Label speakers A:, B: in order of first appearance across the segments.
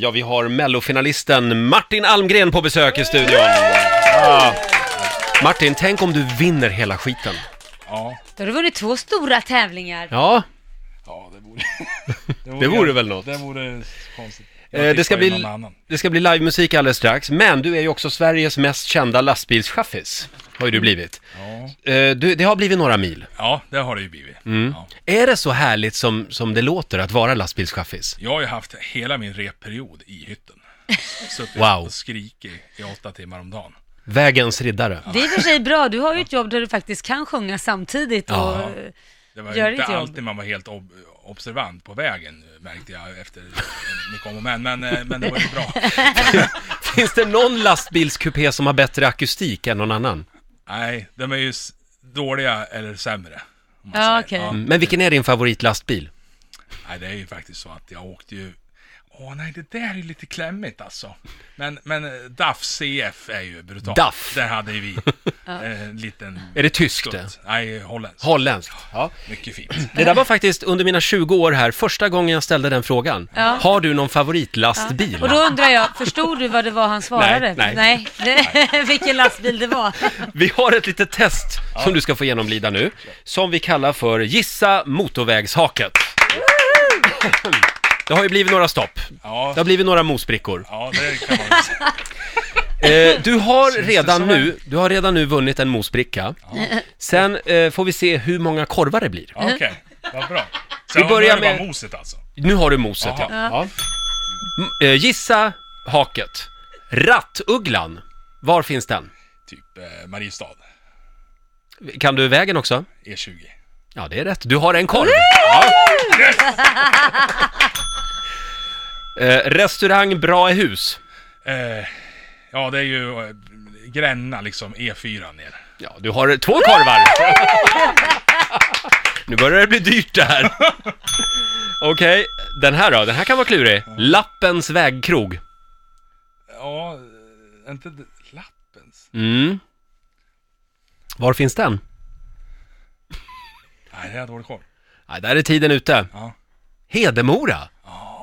A: Ja, vi har mellofinalisten Martin Almgren på besök i studion. Ja. Martin, tänk om du vinner hela skiten.
B: Ja,
C: Då har du vunnit två stora tävlingar.
A: Ja,
B: ja det vore...
A: Det vore väl något.
B: Det vore konstigt. Jag
A: eh, det, ska
B: tippar ju
A: bli,
B: någon annan.
A: det ska bli livemusik alldeles strax, men du är ju också Sveriges mest kända lastbilschaffis, har ju du blivit.
B: Ja.
A: Eh, du, det har blivit några mil.
B: ja, det har det ju blivit.
A: Mm.
B: Ja.
A: Är det så härligt som, som det låter att vara lastbilschaffis?
B: Jag har ju haft hela min repperiod i hytten. Suttit
A: Wow.
B: och skrikit i åtta timmar om dagen.
A: Vägens riddare.
C: Det är i och för sig bra, du har ju ett jobb där du faktiskt kan sjunga samtidigt och...
A: Ja.
B: Det var
C: Gör
B: ju inte
C: ditt jobb.
B: alltid man var helt ob- observant på vägen, märkte jag efter ni kom och men, men, eh, men det var ju bra.
A: Finns det någon lastbilskupé som har bättre akustik än någon annan?
B: Nej, de är ju s- dåliga eller sämre. om man
C: Ja,
B: säger.
C: okej.
A: Mm, Men vilken är din favoritlastbil?
B: Nej, det är ju faktiskt så att jag åkte ju... Åh nej, det där är ju lite klämmigt alltså. Men, men eh, DAF CF är ju brutalt.
A: DAF.
B: Där hade ju vi eh, en liten...
A: Är det tyskt det?
B: skutt. Nej, holländskt.
A: Holländskt? Ja.
B: Mycket fint.
A: Det där var faktiskt under mina 20 år här första gången jag ställde den frågan.
C: Ja.
A: Har du någon favoritlastbil?
C: Och då undrar jag, förstod du vad det var han svarade?
A: Nej,
C: Det, vilken lastbil det var.
A: Vi har ett litet test som du ska få genomlida nu, som vi kallar för Gissa motorvägshaket. Det har ju blivit några stopp.
B: Ja,
A: Det har blivit några mosbrickor.
B: ja det kan man väl säga.
A: Eh, du, har
B: det
A: redan
B: som
A: nu, du har redan nu vunnit en mosbricka. Sen eh, får vi se hur många korvar det blir.
B: Ja, Okej, vad bra. Så
A: Vi
B: jag
A: börjar
B: börjar med...
A: med-
B: moset alltså.
A: Nu har du moset, ja.
B: Jaha.
A: ja. M- eh, gissa haket. Rattugglan. Var finns den?
B: Typ eh, Mariestad, E
A: Kan du vägen också?
B: E20.
A: Ja, det är rätt. Du har en korv. Ja. Eh, restaurang Bra i hus.
B: Eh, ja, det är ju eh, Gränna liksom, E4 ner.
A: Ja, du har två korvar. nu börjar det bli dyrt det här. Okej, den här då? Den här kan vara klurig. Lappens vägkrog.
B: Ja, eh, är inte det- Lappens?
A: Mm. Var finns den?
B: Nej, det har jag dålig koll.
A: Nej, där är tiden ute.
B: Ja.
A: Hedemora.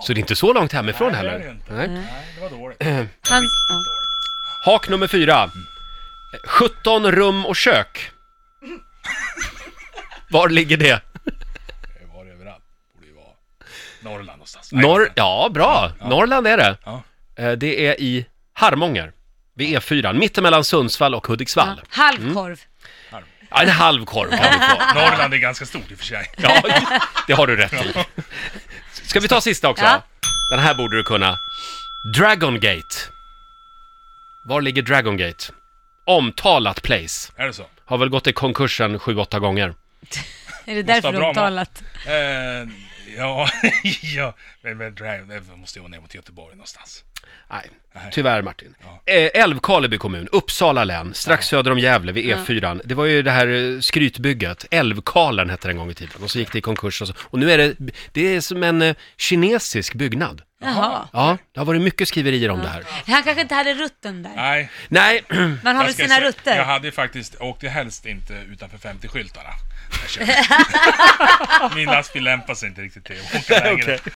A: Så det är inte så långt hemifrån
B: Nej, det är det ju
A: heller.
B: inte.
A: Nej.
B: Nej, det var dåligt.
C: Han, ja.
A: Hak nummer fyra. 17 rum och kök. Var ligger det?
B: Det var det överallt. Borde ju vara Norrland någonstans. Nej,
A: Norr...
B: vänta.
A: Ja, bra. Norrland är det.
B: Ja.
A: Eh, Det är i Harmånger. Vid E4, mittemellan Sundsvall och Hudiksvall.
C: Halvkorv.
A: Ja, en halv korv har vi kvar.
B: Norrland är ganska stort i och för sig.
A: Ja, det har du rätt i. Ska vi ta sista också?
C: Ja.
A: Den här borde du kunna. Dragon Gate. Var ligger Dragon Gate? Omtalat place.
B: Är det så?
A: Har väl gått i konkursen sju, åtta gånger.
C: Är det
B: bra
C: därför du har
B: mat.
C: talat?
B: Eh, ja, ja. Men, men drive, det måste ju vara ner mot Göteborg någonstans.
A: Nej,
B: Nej.
A: tyvärr Martin.
B: Ja.
A: Eh, Älvkarleby kommun, Uppsala län, strax söder om Gävle vid E4. Det var ju det här eh, skrytbygget, Älvkarlen hette det en gång i tiden. Och så gick det i konkurs och så. Och nu är det, det är som en eh, kinesisk byggnad.
C: Jaha.
A: Ja, det har varit mycket skriverier om det här.
C: Han kanske inte hade rutten där.
B: Nej.
A: Nej,
C: Man har
B: jag
C: väl
B: ska
C: sina
B: säga- Jag
C: rutter?
B: hade ju faktiskt, åkte helst inte utanför 50-skyltarna. Jag kör. Min lastbil lämpar sig inte riktigt till att åka längre.